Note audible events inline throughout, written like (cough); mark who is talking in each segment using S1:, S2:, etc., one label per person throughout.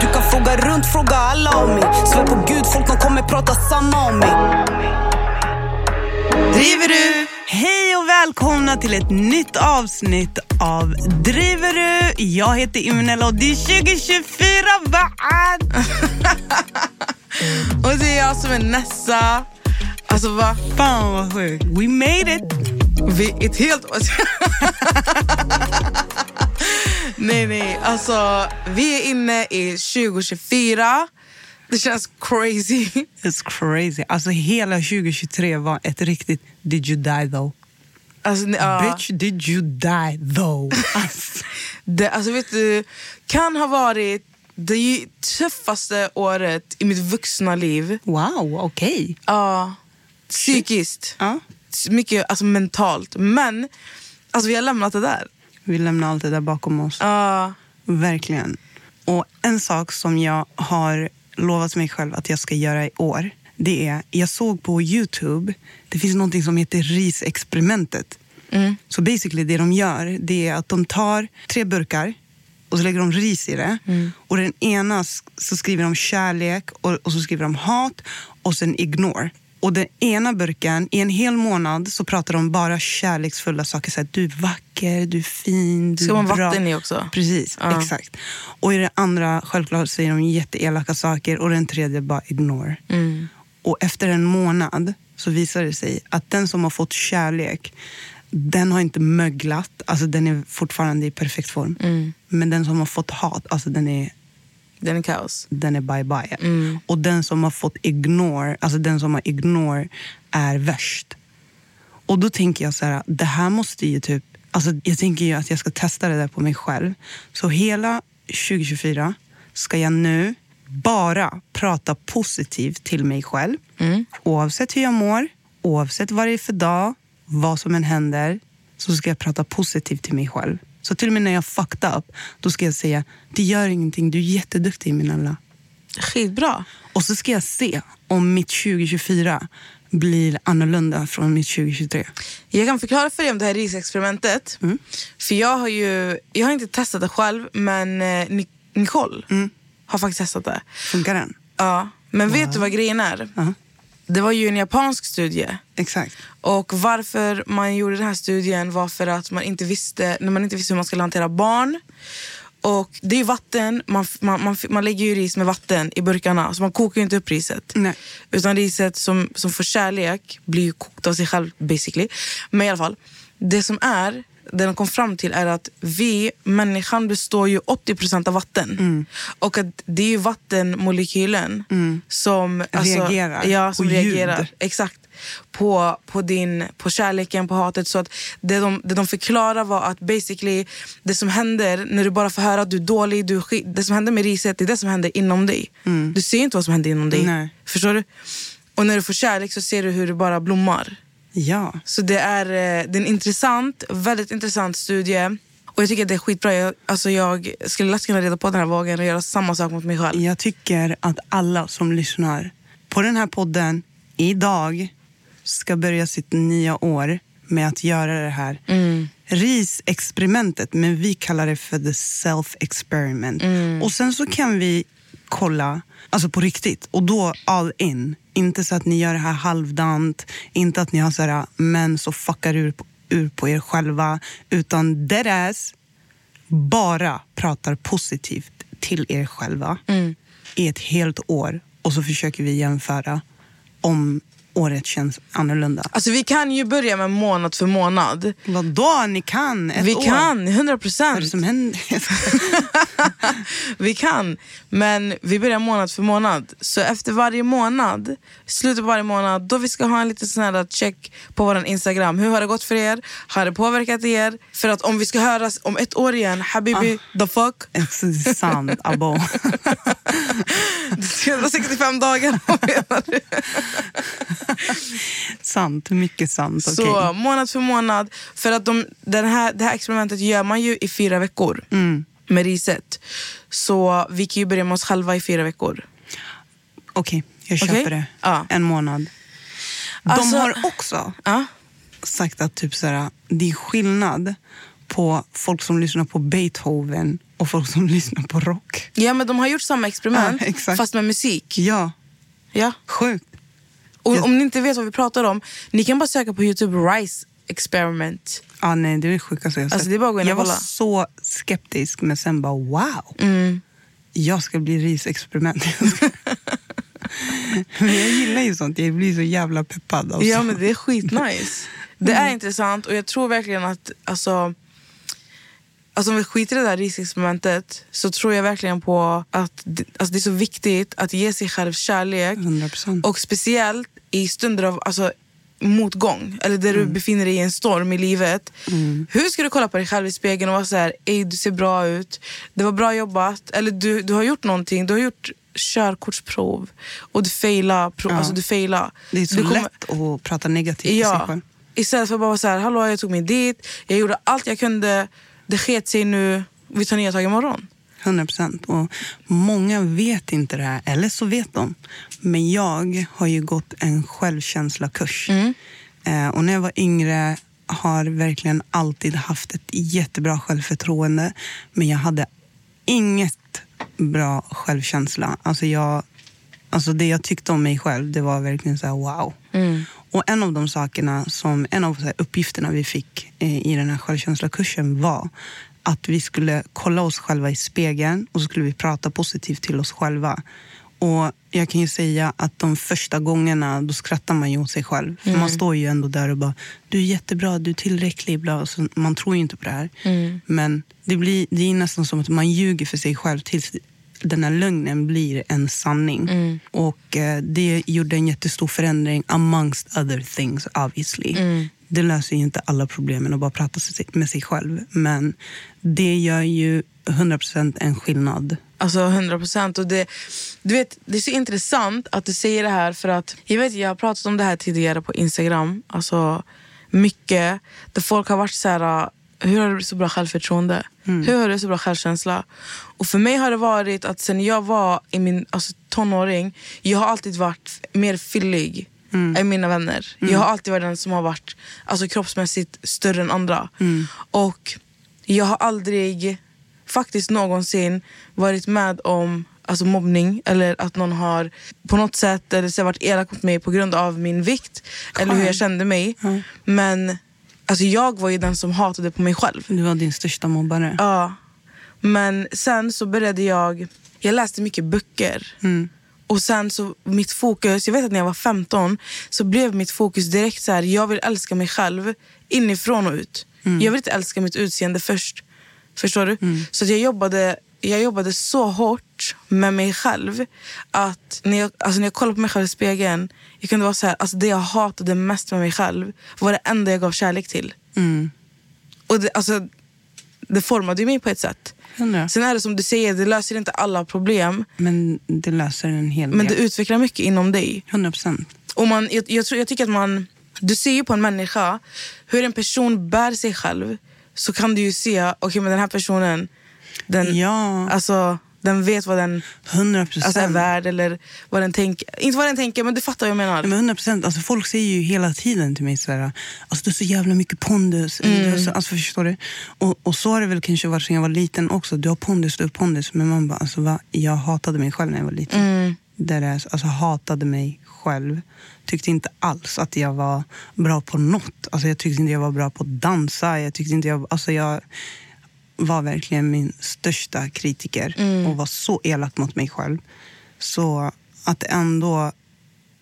S1: Du kan fråga runt, fråga alla om mig. Slå på gud, folk de kommer prata samma om mig.
S2: Driver du? Hej och välkomna till ett nytt avsnitt av Driver du? Jag heter Imenella och det är 2024, vad? (laughs) och det är jag som är Nessa. Alltså vad fan vad sjukt. We made it. Vi ett helt... (laughs) nej, nej. Alltså vi är inne i 2024. Det känns crazy.
S3: It's crazy. Alltså hela 2023 var ett riktigt did you die though?
S2: Alltså, ni- ja.
S3: Bitch did you die
S2: (laughs)
S3: though? Alltså,
S2: Det, alltså vet du, kan ha varit det ju tuffaste året i mitt vuxna liv.
S3: wow, okej.
S2: Ja, psykiskt.
S3: Ja.
S2: Mycket alltså, mentalt. Men alltså, vi har lämnat det där.
S3: Vi lämnar allt det där bakom oss.
S2: Ja,
S3: Verkligen. Och en sak som jag har lovat mig själv att jag ska göra i år, det är, jag såg på Youtube, det finns någonting som heter risexperimentet.
S2: Mm.
S3: Så basically det de gör, det är att de tar tre burkar och så lägger de ris i det.
S2: Mm.
S3: Och den ena s- så skriver de kärlek och, och så skriver de hat och sen ignore. Och den ena burken, i en hel månad så pratar de bara kärleksfulla saker. Så här, du är vacker, du är fin, du
S2: Ska
S3: är
S2: man
S3: bra.
S2: vatten i också?
S3: Precis,
S2: Ja.
S3: exakt. Och i det andra, självklart säger de jätteelaka saker och den tredje bara ignore. Och efter en månad så visar det sig att den som har fått kärlek, den har inte möglat, alltså den är fortfarande i perfekt form. Men den som har fått hat, alltså den är
S2: den är kaos.
S3: den är bye-bye. Och den som har fått ignore, alltså den som har ignore är värst. Och då tänker jag så här, det här måste ju typ... Alltså jag tänker ju att jag ska testa det där på mig själv. Så hela 2024 ska jag nu bara prata positivt till mig själv. Oavsett hur jag mår, oavsett vad det är för dag, vad som än händer, så ska jag prata positivt till mig själv. Så till och med när jag fucked up, då ska jag säga, det gör ingenting, du är jätteduktig Minella.
S2: Skitbra.
S3: Och så ska jag se om mitt 2024 blir annorlunda från mitt 2023.
S2: Jag kan förklara för dig om det här risexperimentet. För jag har ju, jag har inte testat det själv, men eh, Ni- Nicole har faktiskt testat det.
S3: Funkar den?
S2: Ja. Men vet du vad grejen är?
S3: Ja,
S2: Det var ju en japansk studie.
S3: exakt.
S2: Och varför man gjorde den här studien var för att man inte visste, när man inte visste hur man skulle hantera barn. Och det är ju vatten, man, man, man, man lägger ju ris med vatten i burkarna, så man kokar ju inte upp riset.
S3: Nej.
S2: Utan riset som, som får kärlek blir ju kokt av sig själv basically. Men i alla fall, det som är, det de kom fram till är att vi, människan består ju 80% av vatten.
S3: Mm.
S2: Och att det är ju vattenmolekylen som alltså,
S3: Reagerar
S2: Ja, som
S3: på ljud.
S2: reagerar. Exakt. På, på, din, på kärleken, på hatet. Så att det, de, det de förklarar var att basically det som händer när du bara får höra att du är dålig, du är skit, det som händer med riset det är det som händer inom dig. Du ser inte vad som händer inom dig.
S3: Mm. Nej.
S2: Förstår du? Och när du får kärlek så ser du hur det bara blommar.
S3: Ja.
S2: Så det är, eh, det är en intressant, väldigt intressant studie. Och jag tycker att det är skitbra. Jag, alltså jag skulle lätt kunna rida på den här vågen och göra samma sak mot mig själv.
S3: Jag tycker att alla som lyssnar på den här podden idag ska börja sitt nya år med att göra det här RIS-experimentet, men vi kallar det för the self-experiment. Och sen så kan vi kolla, alltså på riktigt, och då all in. Inte så att ni gör det här halvdant, inte att ni har så här mens så fuckar ur, ur på er själva, utan dead ass bara pratar positivt till er själva
S2: Mm.
S3: i ett helt år och så försöker vi jämföra om året känns annorlunda.
S2: Alltså vi kan ju börja med månad för månad.
S3: Vadå, ni kan ett
S2: vi
S3: år?
S2: kan, 100
S3: Vad är det
S2: procent.
S3: som händer? (laughs)
S2: (laughs) vi kan, men vi börjar månad för månad. Så efter varje månad, slutet på varje månad, då vi ska ha en liten sån här check på vår Instagram. Hur har det gått för er? Har det påverkat er? För att om vi ska höras om ett år igen, habibi, the fuck. (laughs)
S3: Alltså, det är sant, abo.
S2: Det ska vara 65 dagar. (laughs) vad menar du?
S3: sant, mycket sant. okej.
S2: Så månad för månad. För att de, den här, det här experimentet gör man ju i fyra veckor med riset. Så vi kan ju börja med oss själva i fyra veckor.
S3: Okej, jag köper
S2: Okej?
S3: det.
S2: Ja.
S3: En månad. De
S2: Alltså-
S3: har också
S2: Ja.
S3: sagt att typ så här, det är skillnad på folk som lyssnar på Beethoven och folk som (laughs) lyssnar på rock.
S2: Ja men de har gjort samma experiment
S3: Ja, exakt.
S2: fast med musik.
S3: Ja,
S2: Ja.
S3: sjukt.
S2: Och om ni inte vet vad vi pratar om, ni kan bara söka på Youtube Rice experiment.
S3: Ja, nej, det är det sjukaste jag har
S2: Alltså,
S3: sett.
S2: det är bara att gå in och
S3: Jag var
S2: kolla.
S3: så skeptisk, men sen bara wow.
S2: Mm.
S3: Jag ska bli risexperiment. (laughs) men jag gillar ju sånt. Jag blir så jävla peppad. Alltså.
S2: Ja men det är skitnice. Det är
S3: Mm.
S2: intressant och jag tror verkligen att alltså, alltså om vi skiter i det där risexperimentet så tror jag verkligen på att det, alltså det är så viktigt att ge sig själv kärlek.
S3: 100%.
S2: Och speciellt i stunder av alltså, motgång eller där
S3: Mm.
S2: du befinner dig i en storm i livet. Hur ska du kolla på dig själv i spegeln och vara så här, Ej, du ser bra ut, det var bra jobbat, eller du, du har gjort någonting, du har gjort körkortsprov och du failar. Prov, alltså, du failar.
S3: Det är så
S2: du kommer-
S3: lätt att prata negativt till sig
S2: Ja.
S3: själv.
S2: Istället för att bara vara så här, hallå jag tog mig dit, jag gjorde allt jag kunde, det sket sig nu, vi tar nya tag imorgon.
S3: 100 procent. Och många vet inte det här, eller så vet de. Men jag har ju gått en självkänslakurs. Eh, och när jag var yngre har verkligen alltid haft ett jättebra självförtroende. Men jag hade inget bra självkänsla. Alltså jag, alltså det jag tyckte om mig själv, det var verkligen så här wow. Och en av de sakerna som, en av så här uppgifterna vi fick eh, i den här självkänsla-kursen var att vi skulle kolla oss själva i spegeln och så skulle vi prata positivt till oss själva. Och jag kan ju säga att de första gångerna då skrattar man ju åt sig själv. För man står ju ändå där och bara, du är jättebra, du är tillräcklig. Bla. Så man tror ju inte på det här. Men det, blir, det är nästan som att man ljuger för sig själv tills den här lögnen blir en sanning.
S2: Mm.
S3: Och eh, det gjorde en jättestor förändring amongst other things obviously.
S2: Mm.
S3: Det löser ju inte alla problemen att bara prata sig- med sig själv. Men det gör ju 100% en skillnad.
S2: Alltså 100 procent. Du vet, det är så intressant att du säger det här för att jag vet jag har pratat om det här tidigare på Instagram, alltså mycket, där folk har varit så här, hur har du så bra självförtroende? Hur har du så bra självkänsla? Och för mig har det varit att sen jag var i min alltså, tonåring, jag har alltid varit mer fyllig än mina vänner. Jag har alltid varit den som har varit alltså, kroppsmässigt större än andra. Och jag har aldrig faktiskt någonsin varit med om alltså mobbning eller att någon har på något sätt eller så varit elak mot mig på grund av min vikt eller hur jag kände mig. Men alltså jag var ju den som hatade på mig själv.
S3: Du var din största mobbare.
S2: Ja. Men sen så började jag... Jag läste mycket böcker. Och sen så mitt fokus, jag vet att när jag var 15 så blev mitt fokus direkt så här, jag vill älska mig själv inifrån och ut. Jag vill inte älska mitt utseende först. Förstår du? Så att jag jobbade jag jobbade så hårt med mig själv att när jag, alltså när jag kollade på mig själv i spegeln, jag kunde vara så här, alltså det jag hatade mest med mig själv var det enda jag gav kärlek till. Och det, alltså, det formade ju mig på ett sätt.
S3: Hundra.
S2: Sen är det som du säger, det löser inte alla problem.
S3: Men det löser en hel
S2: Men det
S3: del.
S2: utvecklar mycket inom dig.
S3: 100%.
S2: Och man, jag, jag, tror, jag tycker att man... Du ser ju på en människa hur en person bär sig själv. så kan du ju se, okej men den här personen, den,
S3: Ja.
S2: alltså, den vet vad den
S3: 100
S2: alltså, är
S3: procent.
S2: värd eller vad den tänker. Inte vad den tänker, men du fattar vad jag menar.
S3: Nej, men 100 procent. Alltså, folk säger ju hela tiden till mig så här, alltså, du har så jävla mycket pondus. Eller, du har så, alltså, förstår du? Och, och så har det väl kanske varit sen jag var liten också. Du har pondus, du har pondus. Men man bara, alltså, va? jag hatade mig själv när jag var liten. Det där, alltså hatade mig själv. Tyckte inte alls att jag var bra på något. Alltså, jag tyckte inte jag var bra på att dansa. Jag tyckte inte jag... Alltså, jag var verkligen min största kritiker
S2: Mm.
S3: och var så elak mot mig själv. Så att ändå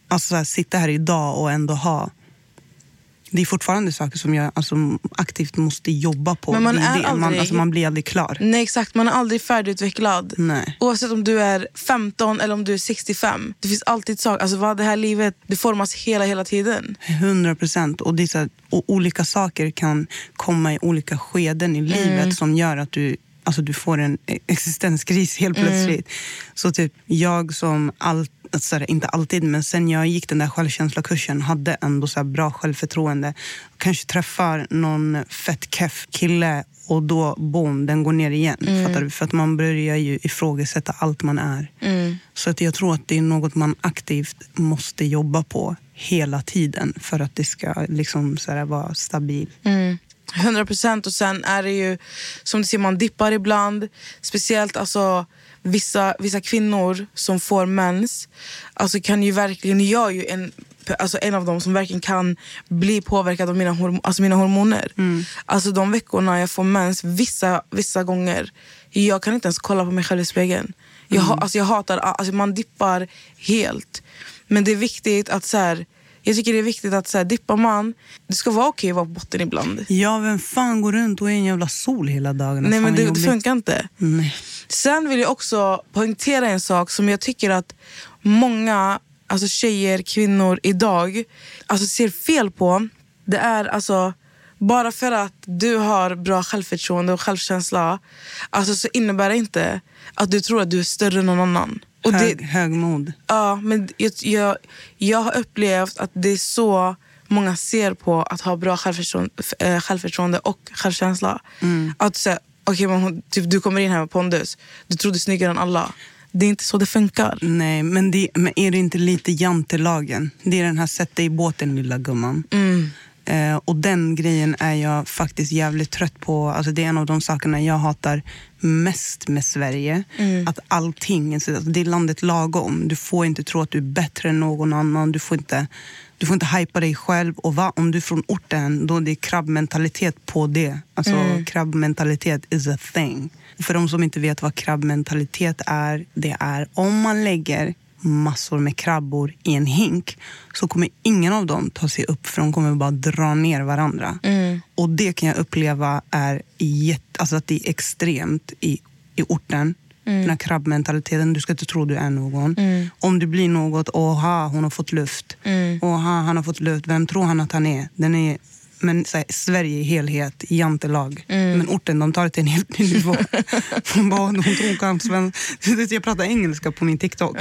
S3: alltså, så här, sitta här idag och ändå ha... Det är fortfarande saker som jag alltså, aktivt måste jobba på.
S2: Men man
S3: Det
S2: är
S3: det. man,
S2: aldrig-
S3: alltså, man blir aldrig klar.
S2: Nej exakt, man är aldrig färdigutvecklad.
S3: Nej.
S2: Oavsett om du är 15 eller om du är 65. Det finns alltid saker, alltså vad det här livet, det formas hela hela tiden.
S3: 100 procent. Och, det är så här- och olika saker kan komma i olika skeden i livet som gör att du, alltså du får en existenskris helt plötsligt. Så typ jag som, all, alltså så här, inte alltid, men sen jag gick den där självkänsla-kursen hade ändå så här bra självförtroende. Kanske träffar någon fett keff kille och då boom, den går ner igen. Fattar du? För att man börjar ju ifrågasätta allt man är. Så att jag tror att det är något man aktivt måste jobba på hela tiden för att det ska liksom så här vara stabil.
S2: Mm. 100 procent. Och sen är det ju, som du ser, man dippar ibland. Speciellt alltså, vissa, vissa kvinnor som får mens alltså, kan ju verkligen, jag är ju en, alltså, en av dem som verkligen kan bli påverkad av mina, horm- alltså, mina hormoner. Alltså de veckorna jag får mens, vissa, vissa gånger, jag kan inte ens kolla på mig själv i spegeln. Jag, ha- alltså, jag hatar, alltså, man dippar helt. Men det är viktigt att så här, jag tycker det är viktigt att så här, dippar man, det ska vara okej att vara på botten ibland.
S3: Ja, vem fan går runt och är en jävla sol hela dagen?
S2: Nej
S3: Fan,
S2: men
S3: vad
S2: det, det
S3: jobbigt. Mm.
S2: funkar inte.
S3: Nej.
S2: Sen vill jag också poängtera en sak som jag tycker att många alltså tjejer, kvinnor idag alltså ser fel på. Det är alltså, bara för att du har bra självförtroende och självkänsla alltså så innebär det inte att du tror att du är större än någon annan. Och det,
S3: Hög, högmod.
S2: Ja, men jag, jag, jag har upplevt att det är så många ser på att ha bra självförtroende, f- eh, självförtroende och självkänsla.
S3: Mm.
S2: Att så här, okej, men hon- typ, Du kommer in här med pondus, du tror du är snyggare än alla. Det är inte så det funkar.
S3: Nej, men, det, men är det inte lite jantelagen? Det är den här sätt dig i båten lilla gumman.
S2: Mm.
S3: Eh, och den grejen är jag faktiskt jävligt trött på. Alltså, det är en av de sakerna jag hatar mest med Sverige. Att allting, alltså, det är landet lagom. Du får inte tro att du är bättre än någon annan. Du får inte, du får inte hypa dig själv. Och va, om du är från orten, då är det krabbmentalitet på det. Alltså krabbmentalitet is a thing. För de som inte vet vad krabbmentalitet är, det är om man lägger massor med krabbor i en hink så kommer ingen av dem ta sig upp för de kommer bara dra ner varandra. Och det kan jag uppleva är jätte, alltså att det är extremt i, i orten. Den här krabbmentaliteten, du ska inte tro du är någon. Om du blir något, åha hon har fått luft. Åha han har fått luft, vem tror han att han är? Den är men så här, Sverige i helhet, jantelag. Men orten, de tar det till en helt ny nivå. de bara, de tog kan sven- jag pratar engelska på min TikTok.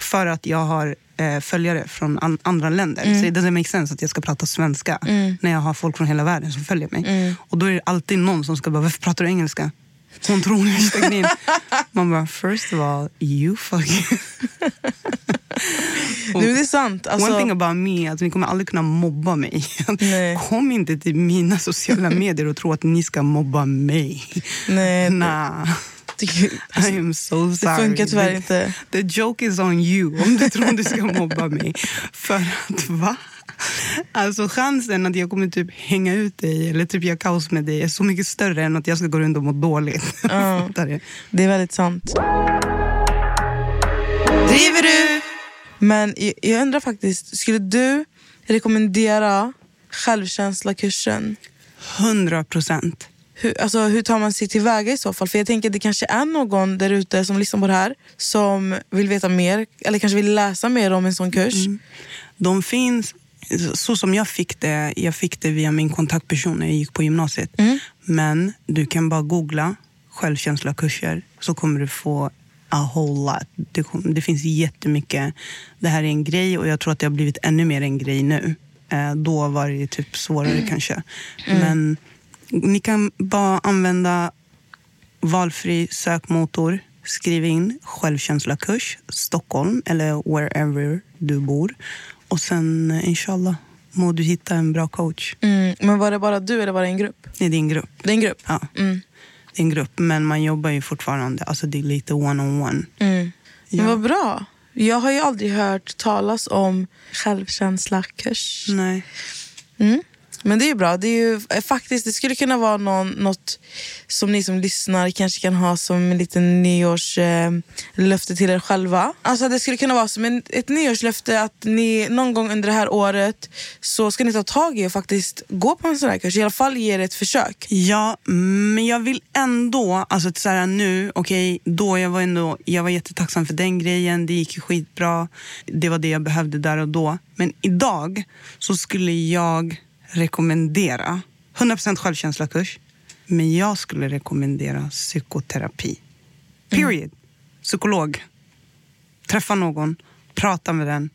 S3: För att jag har eh, följare från an- andra länder. Så det doesn't make sense att jag ska prata svenska när jag har folk från hela världen som följer mig. Och då är det alltid någon som ska bara, varför pratar du engelska? Hon tror hon är stängd in. Man bara, first of all, you fucking... Och-
S2: Nu, det är sant. Alltså,
S3: One thing about me är att ni kommer aldrig kunna mobba mig.
S2: Nej.
S3: Kom inte till mina
S2: (laughs)
S3: sociala medier och tro att ni ska mobba mig.
S2: Nej,
S3: (laughs)
S2: det-
S3: nah.
S2: tycker-
S3: I am so sorry.
S2: funkar tyvärr
S3: The-
S2: inte.
S3: The joke is on you om du tror att du ska mobba
S2: (laughs)
S3: mig. För att va? Alltså chansen att jag kommer typ hänga ut dig eller typ göra kaos med dig är så mycket större än att jag ska gå runt och må dåligt. (laughs) Fattar du?
S2: det är väldigt sant.
S3: Driver du?
S2: Men jag, jag undrar faktiskt, skulle du rekommendera självkänsla-kursen?
S3: 100 procent.
S2: hur, alltså, hur tar man sig tillväga i så fall? För jag tänker att det kanske är någon där ute som lyssnar på det här som vill veta mer eller kanske vill läsa mer om en sån kurs.
S3: De finns, så som jag fick det, jag fick det via min kontaktperson när jag gick på gymnasiet. Men du kan bara googla självkänsla kurser så kommer du få a whole lot. Det, kom- det finns jättemycket. Det här är en grej och jag tror att det har blivit ännu mer en grej nu. Eh, då var det ju typ svårare kanske. Men Ni kan bara använda valfri sökmotor. Skriv in självkänslakurs Stockholm eller wherever du bor. Och sen eh, inshallah må du hitta en bra coach.
S2: Mm. Men var det bara du eller var det en grupp?
S3: Det är din grupp.
S2: Det är en grupp?
S3: Ja.
S2: Mm.
S3: Det är en grupp, men man jobbar ju fortfarande. Alltså det är lite one-on-one.
S2: Mm. Men vad bra. Jag har ju aldrig hört talas om självkänslakurs.
S3: Nej.
S2: Mm. Men det är ju bra. Det, är ju, eh, faktiskt, det skulle kunna vara någon, något som ni som lyssnar kanske kan ha som en liten nyårslöfte eh, löfte till er själva. Alltså Det skulle kunna vara som en, ett nyårslöfte att ni någon gång under det här året så ska ni ta tag i och faktiskt gå på en sån här kurs. I alla fall ge det ett försök.
S3: Ja, men jag vill ändå, alltså så här nu, okej, då jag var ändå, jag var jättetacksam för den grejen, det gick ju skitbra, det var det jag behövde där och då. Men idag så skulle jag rekommendera 100% självkänslakurs, men jag skulle rekommendera psykoterapi. Period. Psykolog. Träffa någon, prata med den,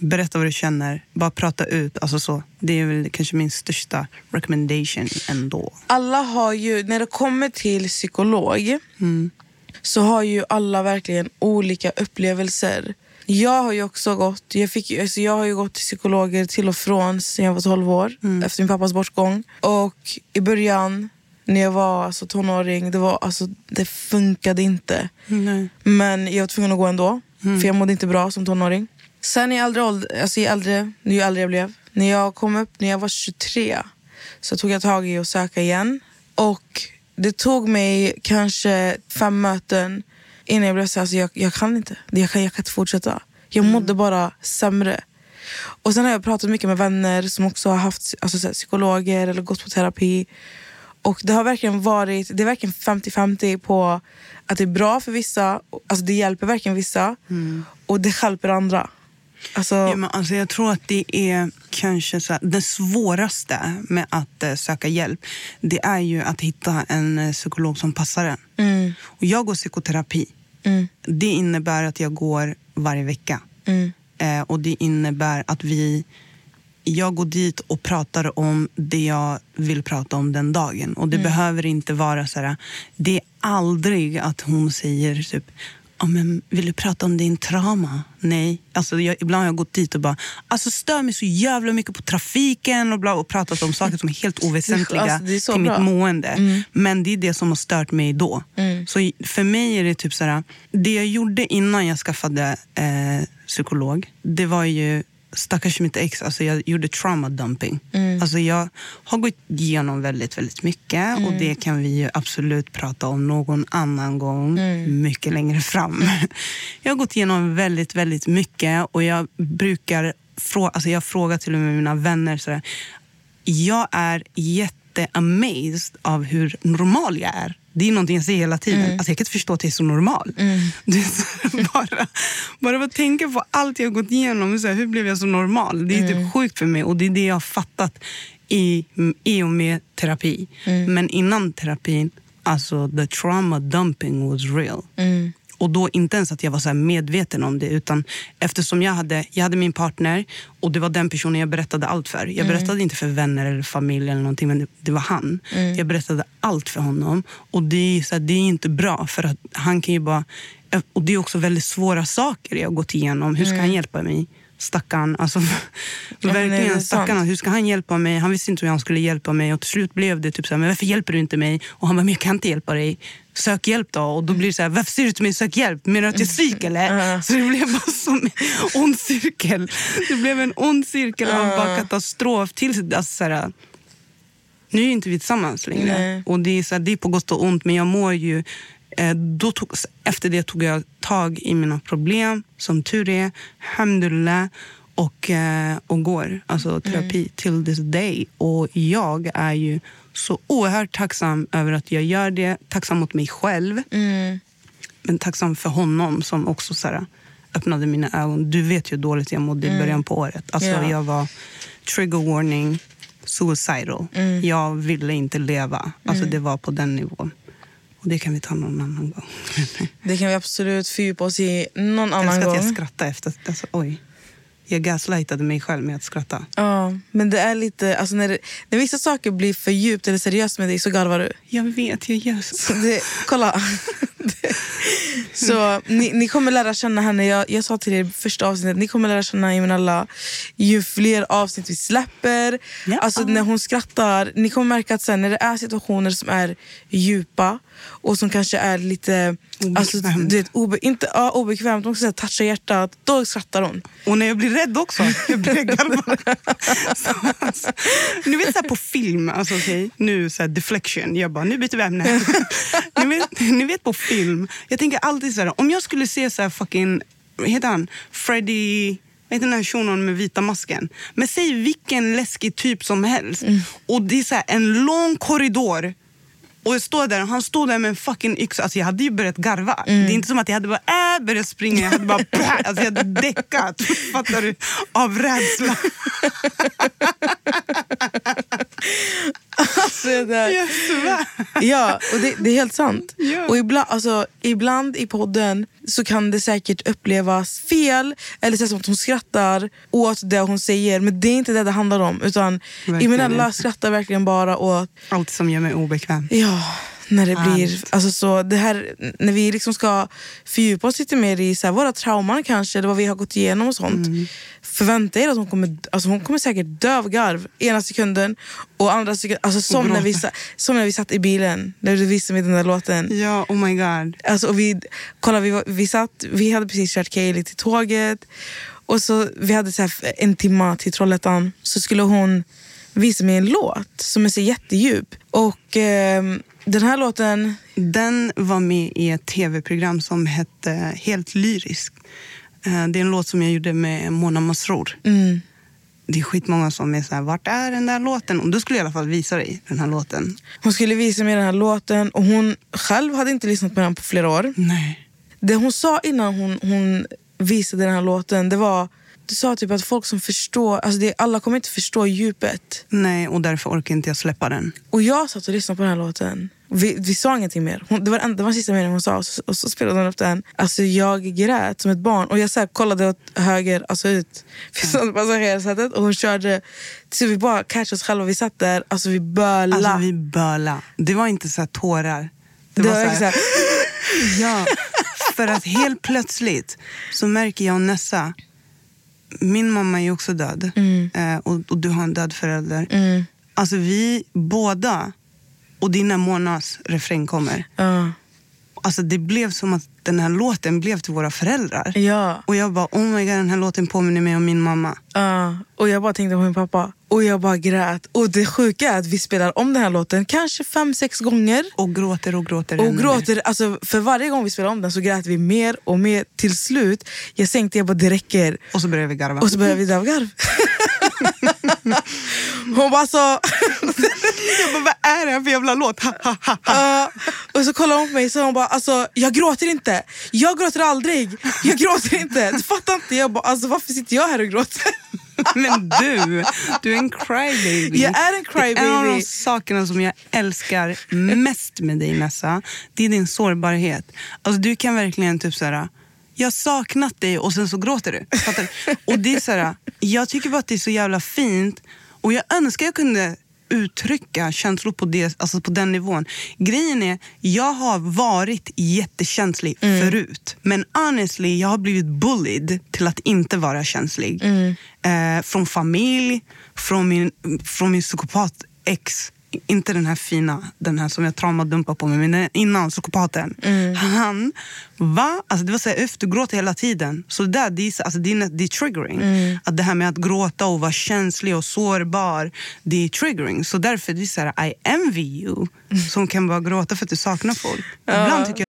S3: berätta vad du känner, bara prata ut. Alltså så. Det är väl kanske min största recommendation ändå.
S2: Alla har ju, när det kommer till psykolog, så har ju alla verkligen olika upplevelser. Jag har ju också gått, jag, fick, ju- alltså jag har ju gått till psykologer till och från sen jag var 12 år, efter min pappas bortgång. Och i början, när jag var alltså, tonåring, det, var, alltså, det funkade inte.
S3: Nej.
S2: Men jag var tvungen att gå ändå, för jag mådde inte bra som tonåring. Sen i äldre ålder, alltså i äldre, ju äldre jag blev, när jag kom upp när jag var 23 så tog jag tag i att söka igen. Och det tog mig kanske fem möten innan jag blev såhär, alltså jag, jag kan inte. Jag kan, jag kan inte fortsätta. Jag mådde bara sämre. Och sen har jag pratat mycket med vänner som också har haft alltså, så här, psykologer eller gått på terapi. Och det har verkligen varit, det är verkligen 50-50 på att det är bra för vissa, alltså det hjälper verkligen vissa och det hjälper andra. Alltså,
S3: Mm. Ja, men alltså jag tror att det är kanske så här, det svåraste med att eh, söka hjälp. Det är ju att hitta en eh, psykolog som passar en.
S2: mm,
S3: Och jag går psykoterapi.
S2: mm,
S3: Det innebär att jag går varje vecka.
S2: mm,
S3: Eh, och det innebär att vi... Jag går dit och pratar om det jag vill prata om den dagen. Och det
S2: Mm.
S3: behöver inte vara så här... Det är aldrig att hon säger typ... Ja, men vill du prata om din trauma? Nej. Alltså, jag, ibland har jag gått dit och bara... Alltså, stör mig så jävla mycket på trafiken och, bla, och pratat om saker som är helt oväsentliga
S2: (laughs) Alltså, det är så
S3: till
S2: bra.
S3: mitt mående. Men det är det som har stört mig då. Så i- för mig är det typ så här, det jag gjorde innan jag skaffade eh, psykolog, det var ju stackars mitt ex, alltså jag gjorde trauma dumping. Alltså jag har gått igenom väldigt, väldigt mycket och det kan vi ju absolut prata om någon annan gång, mycket längre fram. (laughs) Jag har gått igenom väldigt, väldigt mycket och jag brukar fråga, alltså jag frågar till och med mina vänner så här, jag är jätteamazed av hur normal jag är. Det är någonting jag säger hela tiden. Alltså jag kan inte förstå att jag är så normal. (laughs) Det är så här, bara, bara att tänka på allt jag har gått igenom. Så här, hur blev jag så normal? Det är typ sjukt för mig och det är det jag har fattat i, i och med terapi. Men innan terapin, alltså the trauma dumping was real.
S2: Mm.
S3: Och då inte ens att jag var så här medveten om det. Utan eftersom jag hade, jag hade min partner och det var den personen jag berättade allt för.
S2: Mm.
S3: Jag berättade inte för vänner eller familj eller någonting, men det, det var han.
S2: Mm.
S3: Jag berättade allt för honom. Och det är, så här, det är inte bra för att han kan ju bara... Och det är också väldigt svåra saker jag har gått igenom. Hur ska han hjälpa mig? Stackarn. Alltså,
S2: Mm.
S3: (laughs)
S2: men det är
S3: verkligen
S2: sant.
S3: stackarn. Hur ska han hjälpa mig? Han visste inte hur han skulle hjälpa mig. Och till slut blev det typ så här, men varför hjälper du inte mig? Och han bara, men jag kan inte hjälpa dig. Sök hjälp då. Och då blir det så här, varför säger du till mig sök hjälp? Menar du att jag är psyk eller? Så det blev bara som en ond cirkel. Det blev en ond cirkel av bara katastrof. Till, alltså så här, nu är ju inte vi tillsammans längre.
S2: Nej.
S3: Och det är, så här, det är på gott och ont, men jag mår ju... Eh, då tog, efter det tog jag tag i mina problem, som tur är, alhamdulillah, och, eh, och går alltså, terapi till this day. Och jag är ju så oerhört tacksam över att jag gör det. Tacksam mot mig själv, men tacksam för honom som också så här, öppnade mina ögon. Du vet ju hur dåligt jag mådde i början på året. Alltså,
S2: Mm. Ja.
S3: Jag var trigger warning, suicidal.
S2: Mm.
S3: Jag ville inte leva. Alltså, Det var på den nivån. Och Det kan vi ta någon annan gång. (laughs)
S2: det kan vi absolut fördjupa oss i någon
S3: Jag
S2: annan
S3: älskar att jag
S2: gång.
S3: skrattar efter. Alltså, oj. jag gaslightade mig själv med att skratta.
S2: Ja, men det är lite... Alltså när, det, när vissa saker blir för djupt eller seriöst med dig så garvar du.
S3: Jag vet, jag gör så.
S2: Så det, kolla. Det- så ni, ni kommer lära känna henne. Jag, jag sa till er i första avsnittet, ni kommer lära känna Imenalla ju fler avsnitt vi släpper.
S3: Ja.
S2: Alltså när hon skrattar, ni kommer märka att sen när det är situationer som är djupa och som kanske är lite... Alltså,
S3: Obekvämt.
S2: du vet, obe, inte, ja, obekvämt, de också touchar hjärtat. Då skrattar hon.
S3: Och när jag blir rädd också. Jag blir garvad. Så, alltså, Ni vet så här på film, alltså, okej, nu så här deflection. Jag bara, nu byter vi ämne. (laughs) ni, vet, ni vet på film, jag tänker alltid så här, om jag skulle se så här fucking, vad heter han? Freddy... Vad heter den här shunon med vita masken? Men säg vilken läskig typ som helst. Och det är så här, en lång korridor. Och jag står där och han står där med en fucking yxa. Alltså jag hade ju börjat garva. Det är inte som att jag hade bara äh, börjat springa. Jag hade (laughs) bara pah, alltså jag hade däckat. Fattar du? Av rädsla.
S2: Alltså, det
S3: (laughs)
S2: där.
S3: Jag svär.
S2: Ja, och det, det är helt sant.
S3: Ja.
S2: Och ibland, alltså, ibland i podden så kan det säkert upplevas fel eller så här som att hon skrattar åt det hon säger. Men det är inte det det handlar om. Utan
S3: Verkligen
S2: Imenella
S3: inte.
S2: skrattar verkligen bara åt
S3: Allt som gör mig obekväm.
S2: Ja, när det
S3: Allt.
S2: blir... Alltså så det här, när vi liksom ska fördjupa oss lite mer i så här, våra trauman kanske, eller vad vi har gått igenom och sånt. Förvänta er att hon kommer, alltså hon kommer säkert dö av garv ena sekunden och andra sekunden. Alltså som, när vi, sa- som när vi satt i bilen, när du visade mig den där låten.
S3: Ja, oh my god.
S2: Alltså, och vi, kolla, vi, var- vi, satt, vi hade precis kört Kaeli till tåget. Och så, vi hade så här en timma till Trollhättan. Så skulle hon visa mig en låt som är så jättedjup. Och ehm, den här låten...
S3: Den var med i ett tv-program som hette Helt lyrisk. Eh, Det är en låt som jag gjorde med Mona Masrour.
S2: Mm,
S3: Det är skitmånga som är så här, vart är den där låten? Och du skulle jag i alla fall visa dig den här låten.
S2: hon skulle visa mig den här låten och hon själv hade inte lyssnat på den på flera år.
S3: Nej.
S2: Det hon sa innan hon, hon visade den här låten det var... Du sa typ att folk som förstår... Alltså det, alla kommer inte förstå djupet.
S3: Nej, och därför orkar inte jag släppa den.
S2: Och jag satt och lyssnade på den här låten. Vi, vi sa ingenting mer. Hon, det, var, den- det var den sista meningen hon sa och så, och så spelade hon upp den. Alltså jag grät som ett barn. Och jag så här, kollade åt höger, alltså ut. (laughs) Vi satt på passagerarsätet och hon körde. Så vi bara catchade oss själva. Vi satt där, alltså vi bölade.
S3: Alltså vi böla. Det var inte så här tårar.
S2: det, var
S3: så
S2: så här,
S3: Ja, (laughs) för att helt plötsligt så märker jag och Nessa, min mamma är ju också död
S2: Mm.
S3: eh, och, och du har en död förälder. Alltså vi båda, och det är när Monas refräng kommer.
S2: ja,
S3: Alltså det blev som att den här låten blev till våra föräldrar.
S2: ja,
S3: Och jag bara, oh my god den här låten påminner mig om min mamma.
S2: ja. Och jag bara tänkte på min pappa. Och jag bara grät. Och det sjuka är att vi spelar om den här låten kanske fem, sex gånger.
S3: Och gråter och gråter.
S2: Och
S3: ännu mer.
S2: gråter, alltså för varje gång vi spelade om den så grät vi mer och mer. Till slut, jag sänkte, jag bara det räcker.
S3: Och så börjar vi garva.
S2: Och så började vi dra av garv. (laughs) Hon bara "Alltså,
S3: (laughs)
S2: så...
S3: (laughs) jag bara, vad är det här för jävla låt? Ha, ha, ha, ha.
S2: "Ah." och så kollade hon på mig så hon bara, alltså jag gråter inte. Jag gråter aldrig. Jag gråter inte. Du fattar inte. Jag bara, alltså varför sitter jag här och gråter?
S3: (laughs) Men du, du är en crybaby.
S2: Jag är en crybaby.
S3: Det är en av de sakerna som jag älskar mest med dig Nessa, det är din sårbarhet. Alltså, du kan verkligen typ såhär, jag har saknat dig och sen så gråter du. Fattar du? Och det är såhär, jag tycker bara att det är så jävla fint och jag önskar jag kunde uttrycka känslor på, det, alltså på den nivån. Grejen är, jag har varit jättekänslig förut. Men honestly, jag har blivit bullied till att inte vara känslig. Eh, från familj, från min, från min psykopat-ex. Inte den här fina, den här som jag traumadumpade på mig, men den innan psykopaten. Han, va? Alltså det var så här, "Uff, du gråter hela tiden. Så det där, det är, så- alltså det är, nä- det är triggering. Att det här med att gråta och vara känslig och sårbar, det är triggering. Så därför, det är så här, I envy you som kan bara gråta för att du saknar folk. Ibland tycker jag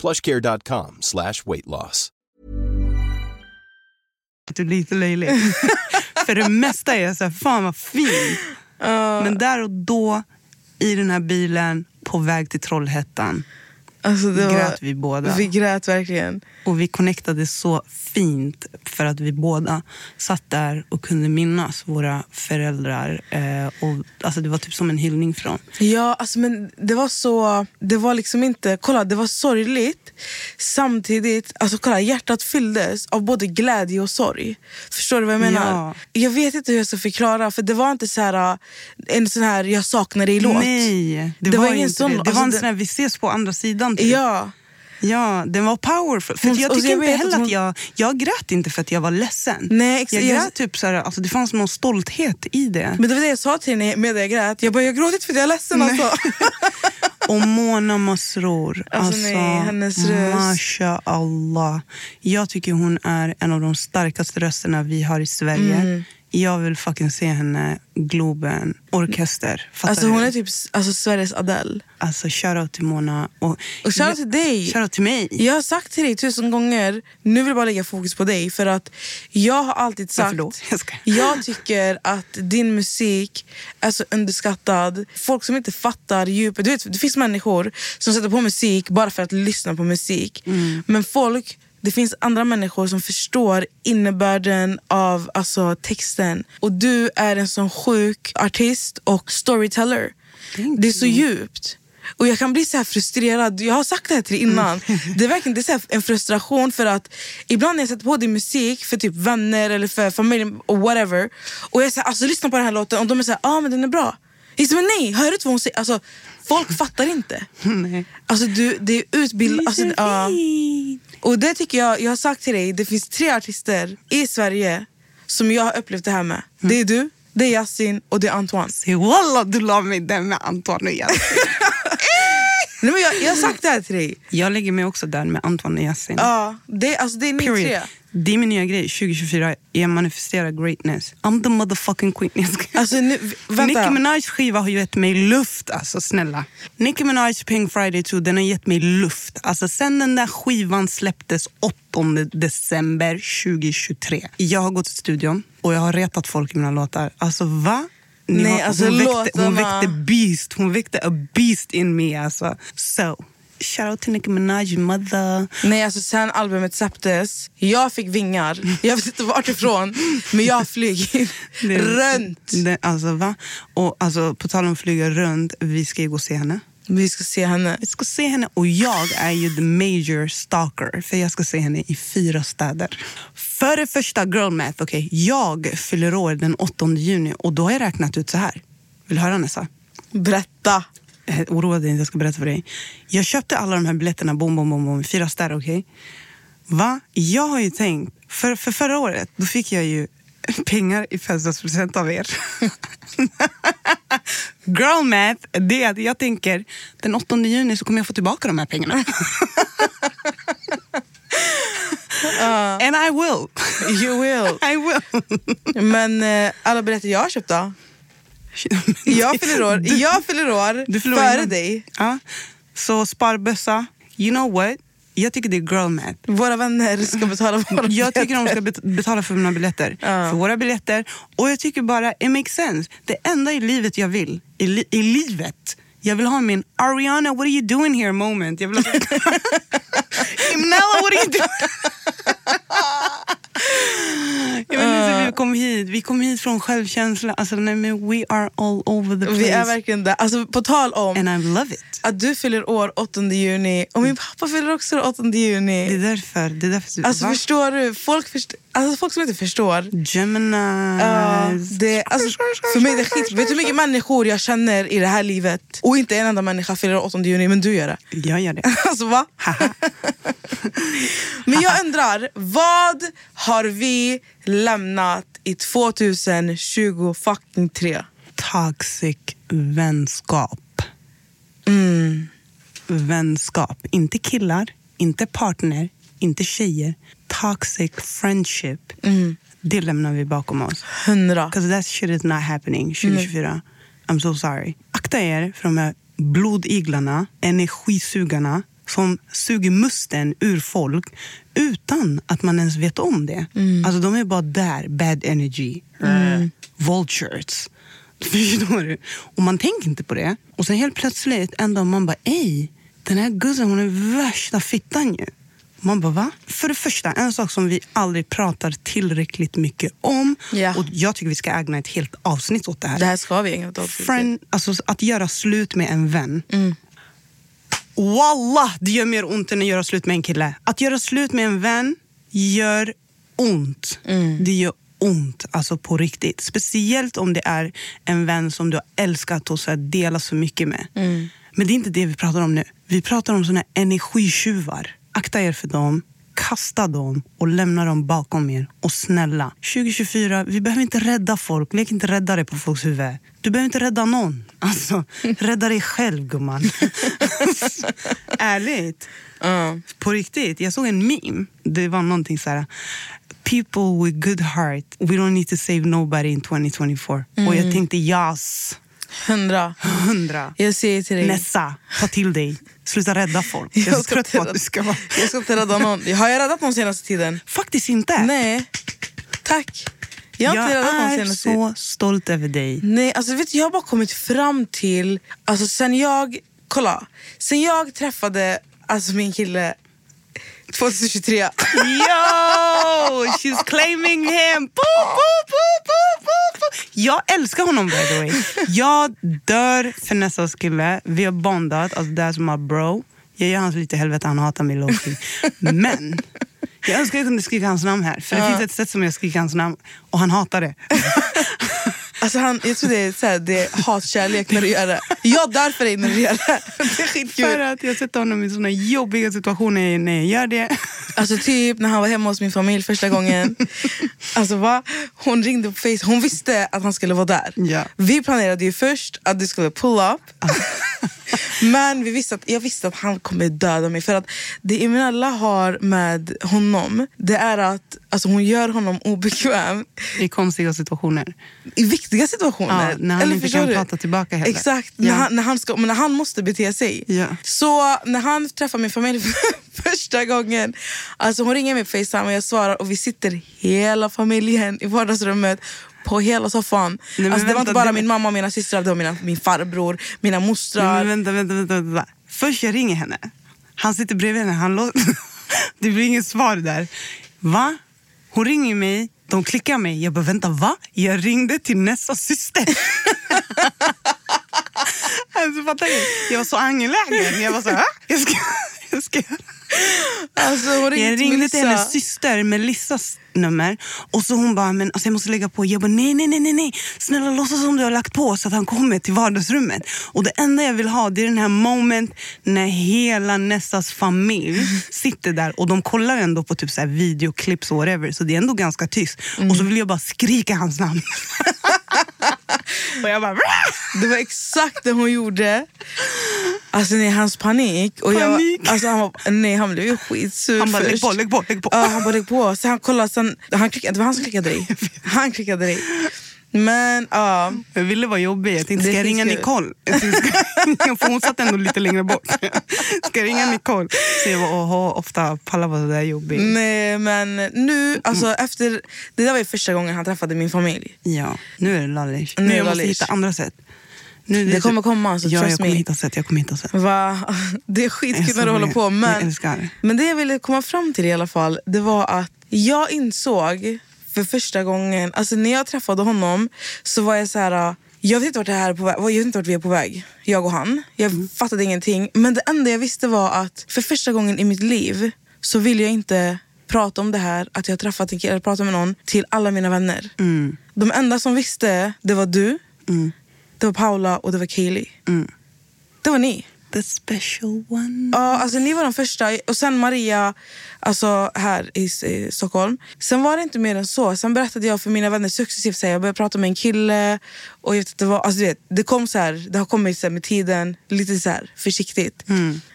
S4: plushcare.com slash weight loss.
S3: Du är lite löjlig. (laughs) För det mesta är jag så här, fan vad fin. Men där och då, i den här bilen, på väg till Trollhättan.
S2: Alltså det
S3: Grät
S2: var,
S3: vi båda?
S2: Vi grät verkligen.
S3: Och vi connectade så fint för att vi båda satt där och kunde minnas våra föräldrar. Eh, och, alltså det var typ som en hyllning från.
S2: Ja, alltså men det var så... Det var liksom inte... Kolla, det var sorgligt. Samtidigt, alltså kolla, hjärtat fylldes av både glädje och sorg. Förstår du vad jag menar?
S3: Ja.
S2: Jag vet inte hur jag ska förklara, för det var inte så här, äh, en sån här jag saknar dig-låt.
S3: Nej, det, var, ingen sån. Det, det var en sån här, vi ses på andra sidan. Typ.
S2: alltså Ja,
S3: Ja, den var powerful. För
S2: Hon-
S3: jag
S2: och
S3: tycker
S2: jag
S3: inte
S2: vet
S3: heller
S2: att
S3: att,
S2: hon-
S3: jag... Jag grät inte för att jag var ledsen.
S2: Nej, ex-
S3: jag
S2: jag-
S3: grät typ så här, alltså det fanns någon stolthet i det.
S2: men det var det jag sa till henne medan jag grät. Jag bara, jag har gråtit för att jag är
S3: (laughs)
S2: ledsen alltså.
S3: Och Mona Masrour.
S2: Alltså,
S3: Alltså,
S2: nej, hennes röst.
S3: Masha Allah. Jag tycker hon är en av de starkaste rösterna vi har i Sverige.
S2: Mm.
S3: Jag vill fucking se henne, Globen, orkester. Fattar
S2: alltså hon
S3: du?
S2: är typ s- alltså, Sveriges Adele.
S3: Alltså shoutout till Mona. Och,
S2: Och shoutout till dig.
S3: Shoutout till mig.
S2: Jag har sagt till dig tusen gånger, nu vill jag bara lägga fokus på dig för att jag har alltid
S3: Varför
S2: sagt,
S3: då? Jag skojar.
S2: jag tycker att din musik är så underskattad. Folk som inte fattar djupet. Du vet, det finns människor som sätter på musik bara för att lyssna på musik.
S3: Mm.
S2: Men folk, det finns andra människor som förstår innebörden av alltså, texten. Och du är en sån sjuk artist och storyteller.
S3: Thank
S2: det är så djupt. Och Jag kan bli så här frustrerad. Jag har sagt det här till dig innan.
S3: Mm. (laughs)
S2: Det är verkligen det är så här en frustration för att ibland när jag sätter på din musik för typ vänner eller för familjen och whatever. Och jag säger alltså lyssna på den här låten och de är så här, ah, men den är bra. Jag säger, men nej, hör du inte vad hon säger? Alltså, folk fattar
S3: (laughs)
S2: inte.
S3: Nej.
S2: Alltså du, det är utbildad... Alltså,
S3: Det är så
S2: ja.
S3: fint.
S2: Och det tycker jag, jag har sagt till dig, det finns tre artister i Sverige som jag har upplevt det här med.
S3: Mm.
S2: Det är du, det är Yasin och det är Antoine.
S3: Se, Walla, du la mig där med Antoine och Yasin.
S2: (laughs) Nej, men jag, jag har sagt det här till dig.
S3: Jag lägger mig också där med Antoine och Yasin.
S2: Ja, det, alltså, det är ni tre.
S3: Period. Det är min nya grej 2024. Jag manifesterar greatness. I'm the motherfucking queen. Jag ska-
S2: Alltså, nu, v- vänta.
S3: Nicki Minajs skiva har ju gett mig luft, alltså snälla. Nicki Minajs Pink Friday 2, den har gett mig luft. Alltså sen den där skivan släpptes 8 december 2023. Jag har gått till studion och jag har retat folk i mina låtar. Alltså va? Ni
S2: Nej,
S3: har-
S2: alltså,
S3: hon, väckte, hon
S2: låtarna.
S3: väckte beast, hon väckte a beast in me alltså. So, shout out till Nicki Minaj, mother.
S2: Nej, alltså sen albumet släpptes, jag fick vingar. Jag vet inte vart ifrån, men jag har flugit
S3: Det-
S2: runt.
S3: Det, alltså va? Och alltså, på tal om flyga runt, vi ska ju gå och se henne.
S2: Vi ska se henne.
S3: Vi ska se henne och jag är ju the major stalker för jag ska se henne i fyra städer. För det första, girl math. Okay, jag fyller år den 8 juni och då har jag räknat ut så här. Vill du höra Nessa?
S2: Berätta.
S3: Eh, Oroa dig inte, jag ska berätta för dig. Jag köpte alla de här biljetterna, bom, bom, bom, bom, fyra städer, okej? Va? Jag har ju tänkt, för, för förra året då fick jag ju (laughs) pengar i födelsedagspresent av er. (laughs) Girl math, det är att jag tänker den 8 juni så kommer jag få tillbaka de här pengarna. And I will.
S2: You will.
S3: I will.
S2: Men eh, alla berättar jag har
S3: (laughs)
S2: köpt då. Jag fyller år,
S3: Du-
S2: jag fyller år
S3: Du förlorar
S2: före
S3: innan.
S2: dig.
S3: Ja. Så sparbössa. You know what? Jag tycker det är girl math.
S2: Våra vänner ska betala våra
S3: Jag tycker
S2: biljetter.
S3: de ska bet- betala för mina biljetter. För våra biljetter. Och jag tycker bara, it makes sense. Det enda i livet jag vill, i, li- i livet, jag vill ha min Ariana, what are you doing here moment. Jag vill ha... (laughs) Imnella, what are you doing? jag vill inte vi kom hit. Vi kom hit från självkänsla. Alltså, nej, men we are all over the place.
S2: Vi är verkligen där. Alltså, på tal
S3: And
S2: om
S3: I love it.
S2: att du fyller år 8 juni och min pappa fyller också år 8
S3: Det är
S2: juni.
S3: därför. Det är därför
S2: Alltså
S3: Va?
S2: förstår du? Folk, först- alltså, folk som inte förstår.
S3: Gemini.
S2: Ja, det, alltså, för mig är det skit. Vet du hur mycket människor jag känner i det här livet? Och inte en enda människa fyller år 8 juni, men du gör det.
S3: (laughs)
S2: (laughs)
S3: Jag gör det.
S2: Alltså va?
S3: Haha.
S2: Men jag undrar, vad har vi lämnat i 2023?
S3: Toxic vänskap. Vänskap. Inte killar, inte partner, inte tjejer. Toxic friendship. Det lämnar vi bakom oss.
S2: Hundra.
S3: Because that shit is not happening 2024. I'm so sorry. Akta er för de här blodiglarna, energisugarna som suger musten ur folk utan att man ens vet om det. Alltså de är bara där, bad energy, eh, vultures. (laughs) Förstår du? Och man tänker inte på det. Och sen helt plötsligt en dag man bara, ej, den här guzzen hon är värsta fittan ju. Man bara, va? För det första, en sak som vi aldrig pratar tillräckligt mycket om.
S2: Ja.
S3: Och jag tycker vi ska ägna ett helt avsnitt åt det här.
S2: Det här ska vi ägna ett avsnitt Mm.
S3: Friend,
S2: åt.
S3: alltså, att göra slut med en vän. Wallah, det gör mer ont än att göra slut med en kille. Att göra slut med en vän gör ont.
S2: Mm.
S3: Det gör ont, alltså på riktigt. Speciellt om det är en vän som du har älskat och så här delat så mycket med.
S2: Mm.
S3: Men det är inte det vi pratar om nu. Vi pratar om såna här energitjuvar. Akta er för dem. Kasta dem och lämna dem bakom er. Och snälla, 2024, vi behöver inte rädda folk. Lek inte räddare på folks huvud. Du behöver inte rädda någon.
S2: (laughs)
S3: Alltså, rädda dig själv, gumman. (laughs) Ärligt. På riktigt. Jag såg en meme. Det var någonting så här... People with good heart, we don't need to save nobody in 2024. Och jag tänkte, yes,
S2: Hundra.
S3: hundra.
S2: Mm. Jag säger till dig.
S3: Nessa, ta till dig. Sluta rädda folk. Jag
S2: Jag
S3: är så
S2: ska
S3: trött på
S2: inte
S3: att du ska vara...
S2: rädda- Jag ska inte rädda någon. Har jag räddat någon senaste tiden?
S3: Faktiskt inte.
S2: Nej. Tack. Jag har
S3: jag
S2: inte räddat någon
S3: är
S2: senaste tiden.
S3: så stolt över dig.
S2: Nej, alltså vet du, jag har bara kommit fram till... Alltså sen jag... Kolla. Sen jag träffade alltså min kille 2023. (laughs)
S3: Yo! She's claiming him! Boop, boop, boop, boop, boop, boop. Jag älskar honom by the way. Jag dör för Nessas kille. Vi har bondat. Alltså, that's my bro. Jag gör hans lite helvete, han hatar mig lowkey. Men jag önskar jag kunde skrika hans namn här. För det finns ett sätt som jag skriker hans namn och han hatar (laughs) det.
S2: Alltså han, jag tror det är, så här, det är hatkärlek när du gör det. Jag dör för dig när du gör det. (laughs) Det är
S3: För
S2: skitkul.
S3: att jag sätter honom i såna jobbiga situationer när jag gör det.
S2: Alltså typ när han var hemma hos min familj första gången. Alltså va? Hon ringde på Face. Hon visste att han skulle vara där.
S3: Ja.
S2: Vi planerade ju först att du skulle pull up. Men vi visste att, jag visste att han kommer döda mig. För att det Emanuela har med honom, det är att alltså, hon gör honom obekväm
S3: I konstiga situationer.
S2: i viktiga situationer.
S3: Ja, när han inte
S2: förstår
S3: kan prata tillbaka heller.
S2: Exakt,
S3: Ja.
S2: när, han, när, han ska, men när han måste bete sig.
S3: Ja.
S2: Så när han träffar min familj för (laughs) första gången, alltså hon ringer mig på Facetime och jag svarar och vi sitter hela familjen i vardagsrummet på hela soffan.
S3: men
S2: alltså, det var
S3: vänta,
S2: inte bara
S3: det-
S2: min mamma och mina systrar, det var mina, min farbror, mina
S3: Nej,
S2: mostrar.
S3: men vänta, vänta, vänta, vänta. Först jag ringer henne. Han sitter bredvid henne. Han lå- (laughs) det blir inget svar där. Va? Hon ringer mig. De klickar mig. Jag bara, vänta, va? Jag ringde till nästa syster. (laughs) alltså, fattar ni? Jag var så angelägen. Jag var så här, "Ah, jag ska, (laughs) jag ska.
S2: Alltså, hon ringde
S3: Jag
S2: till
S3: ringde till
S2: Melissa.
S3: hennes syster, Melissas nummer. Och så hon bara, men alltså jag måste lägga på. Jag bara, nej, nej, nej, nej, nej. Snälla låtsas som du har lagt på så att han kommer till vardagsrummet. Och det enda jag vill ha, det är den här moment när hela Nessas familj sitter där och de kollar ändå på typ så här videoklipp och whatever. Så det är ändå ganska tyst. Och så vill jag bara skrika hans namn. och jag bara, "Bra!"
S2: Det var exakt det hon gjorde. Alltså nej, hans panik. Och
S3: Panik.
S2: Jag, alltså, han, var, nej, han blev ju skitsur
S3: Han bara,
S2: först.
S3: lägg på, lägg på, lägg på.
S2: Ja, han bara lägg på. Så han kollade, sen, han klickade, det var han som klickade dig. Han klickade dig. Men ja,
S3: Jag ville vara jobbig. Jag tänkte,
S2: Det
S3: ska jag
S2: finns
S3: ringa
S2: ju-
S3: Nicole? Jag tänkte, ska jag (laughs) ringa- För hon satt ändå lite längre bort. (laughs) Ska jag ringa Nicole? Så jag var oho, ofta pallar vara sådär jobbig.
S2: nej, men nu, alltså efter, det där var ju första gången han träffade min familj.
S3: Ja, nu är det lallish.
S2: Nu
S3: Nu
S2: är
S3: jag måste
S2: lallish.
S3: hitta andra sätt. Nu är
S2: Det kommer komma, så
S3: ja,
S2: trust
S3: jag kommer
S2: me.
S3: hitta sätt. Jag kommer hitta sätt.
S2: Va? (laughs) Det är
S3: Jag
S2: skitkul
S3: älskar
S2: när du håller
S3: det.
S2: på.
S3: Jag
S2: Men,
S3: älskar det.
S2: men det jag ville komma fram till i alla fall, det var att jag insåg för första gången, alltså när jag träffade honom så var jag så här. Jag vet inte vart det här är på väg. Jag vet inte vart vi är på väg, jag och han. Jag
S3: Mm.
S2: fattade ingenting. Men det enda jag visste var att för första gången i mitt liv så vill jag inte prata om det här, att jag har träffat en kille, eller pratat med någon, till alla mina vänner.
S3: Mm.
S2: De enda som
S3: Mm.
S2: visste, det var du, det var Paula och det var Kaylee. Det var ni.
S3: the special one.
S2: Ja, alltså ni var de första. Och sen Maria alltså här i, i Stockholm. Sen var det inte mer än så. Sen berättade jag för mina vänner successivt. Så här, jag började prata med en kille. Och jag vet att det, var, alltså, du vet, det kom så här, det har kommit så här, med tiden, lite så här, försiktigt.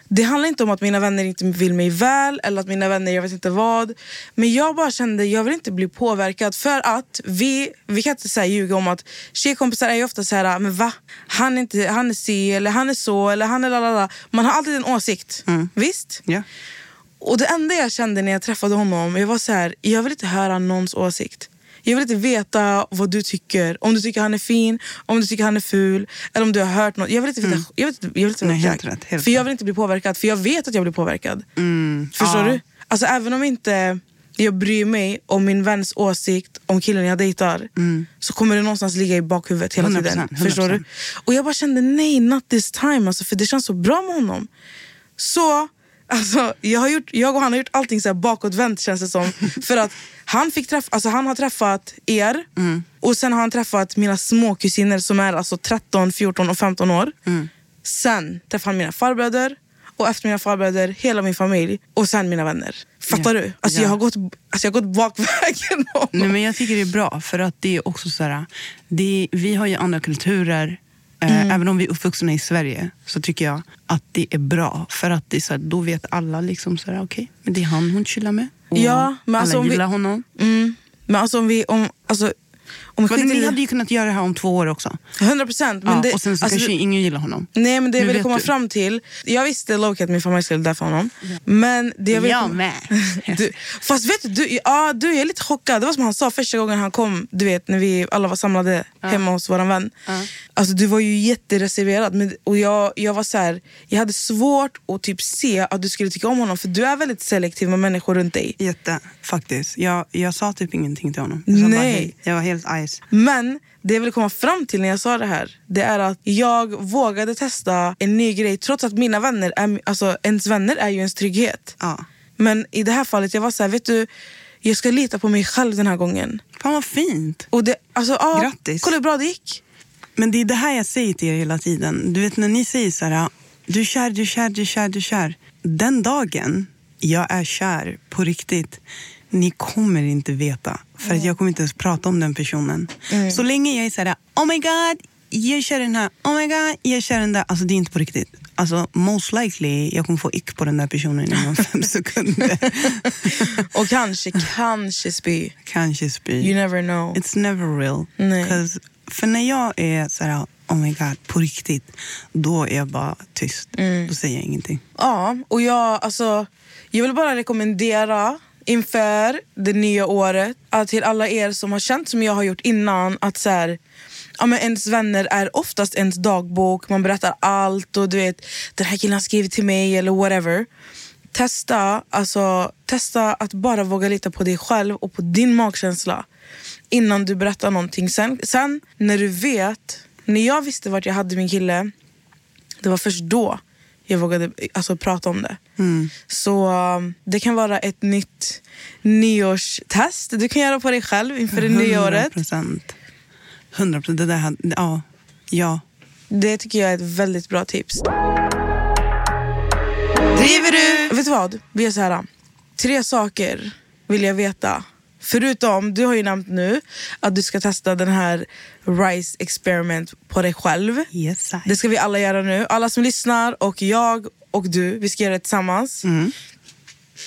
S2: Det handlar inte om att mina vänner inte vill mig väl eller att mina vänner, jag vet inte vad. Men jag bara kände, jag vill inte bli påverkad. För att vi, vi kan inte så här, ljuga om att tjejkompisar är ju ofta så här, men va? Han är, inte, han är si eller han är så eller han är lalala. Man har alltid en åsikt. Visst?
S3: Ja.
S2: Och det enda jag kände när jag träffade honom, jag var så här, jag vill inte höra någons åsikt. Jag vill inte veta vad du tycker. Om du tycker han är fin, om du tycker han är ful, eller om du har hört något. Jag vill inte veta. Jag vill inte, jag vill inte
S3: Mm. Nej,
S2: veta
S3: helt
S2: exakt.
S3: rätt, helt
S2: för jag
S3: rätt. Mm.
S2: vill inte bli påverkad, för jag vet att jag blir påverkad. Förstår
S3: Ja.
S2: du? Alltså även om inte jag bryr mig om min väns åsikt om killen jag dejtar
S3: Mm.
S2: så kommer det någonstans ligga i bakhuvudet hela tiden.
S3: 100%,
S2: Förstår du? Och jag bara kände nej, not this time. Alltså, för det känns så bra med honom. Så alltså, jag, har gjort, jag och han har gjort allting så här bakåtvänt känns
S3: (laughs)
S2: det som. För att han, fick träff, alltså, han har träffat er
S3: Mm.
S2: och sen har han träffat mina små kusiner som är alltså 13, 14 och 15 år.
S3: Mm.
S2: Sen träffade han mina farbröder och efter mina farbröder hela min familj och sen mina vänner. Fattar
S3: Ja.
S2: du? Alltså,
S3: Ja.
S2: jag har gått, alltså, jag har gått bakvägen. med honom.
S3: Nej, men jag tycker det är bra, för att det är också så här, det, vi har ju andra kulturer. Eh,
S2: Mm.
S3: Även om vi är uppvuxna i Sverige så tycker jag att det är bra. För att det är så här, då vet alla liksom så här, okej, men det är han hon chillar med. Och
S2: Ja, men
S3: alla
S2: alltså om vi-
S3: gillar honom.
S2: Mm. Men alltså om vi... Om, alltså, om vi
S3: Men
S2: skiter
S3: ni
S2: i-
S3: hade ju kunnat göra det här om två år också.
S2: 100 procent. alltså,
S3: ja, och sen så kanske ingen gillar honom.
S2: Nej men det jag
S3: Nu
S2: ville
S3: vet
S2: komma
S3: du.
S2: fram till, jag visste lowkey att min familj skulle därför honom. Men det jag ville
S3: Jag
S2: komma-
S3: med.
S2: (laughs) Du, fast vet du, du, ja, du, jag är lite chockad. Det var som han sa första gången han kom, du vet när vi alla var samlade hemma hos våran vän. Alltså du var ju jättereserverad men, och jag, jag var så här, jag hade svårt att typ se att du skulle tycka om honom för du är väldigt selektiv med människor runt dig.
S3: Jätte, faktiskt. Jag, jag sa typ ingenting till honom. Jag sa bara
S2: Nej.
S3: hej. Jag var helt ice.
S2: Men det jag ville komma fram till när jag sa det här, det är att jag vågade testa en ny grej trots att mina vänner, är, alltså ens vänner är ju ens trygghet.
S3: Ja.
S2: Men i det här fallet, jag var så här, vet du, jag ska lita på mig själv den här gången.
S3: Fan vad fint.
S2: Och det, alltså, ja,
S3: Grattis.
S2: Kolla hur bra det gick.
S3: Men det är det här jag säger till er hela tiden. Du vet när ni säger så här, du är kär, du är kär, du är kär, du är kär. Den dagen jag är kär på riktigt, ni kommer inte veta. För att jag kommer inte ens prata om den personen. Så länge jag är så här, oh my god, jag är kär i den här, oh my god, jag är kär i den där. Alltså det är inte på riktigt. Alltså most likely, jag kommer få ick på den där personen inom fem sekunder.
S2: Och kanske, kanske spy.
S3: Kanske spy.
S2: You never know.
S3: It's never real.
S2: Nej.
S3: 'Cause- För när jag är så här, oh my god, på riktigt, då är jag bara tyst.
S2: Mm.
S3: Då säger jag ingenting.
S2: Ja, och jag, alltså, jag vill bara rekommendera inför det nya året att till alla er som har känt som jag har gjort innan att så här, ja, men ens vänner är oftast ens dagbok, man berättar allt och du vet den här killen har skrivit till mig eller whatever. Testa, alltså, testa att bara våga lita på dig själv och på din magkänsla innan du berättar någonting. Sen, sen när du vet, när jag visste vart jag hade min kille det var först då jag vågade alltså, prata om det. Så um, det kan vara ett nytt nyårstest du kan göra på dig själv inför det nya året.
S3: procent. 100 procent. Det där, hade- ja. Ja.
S2: Det tycker jag är ett väldigt bra tips. Driver du? Vet du vad? Vi är så här. um, Tre saker vill jag veta. Förutom, du har ju nämnt nu att du ska testa den här RISE experiment på dig själv.
S3: Yes, I-
S2: Det ska vi alla göra nu. Alla som lyssnar och jag och du, vi ska göra det tillsammans.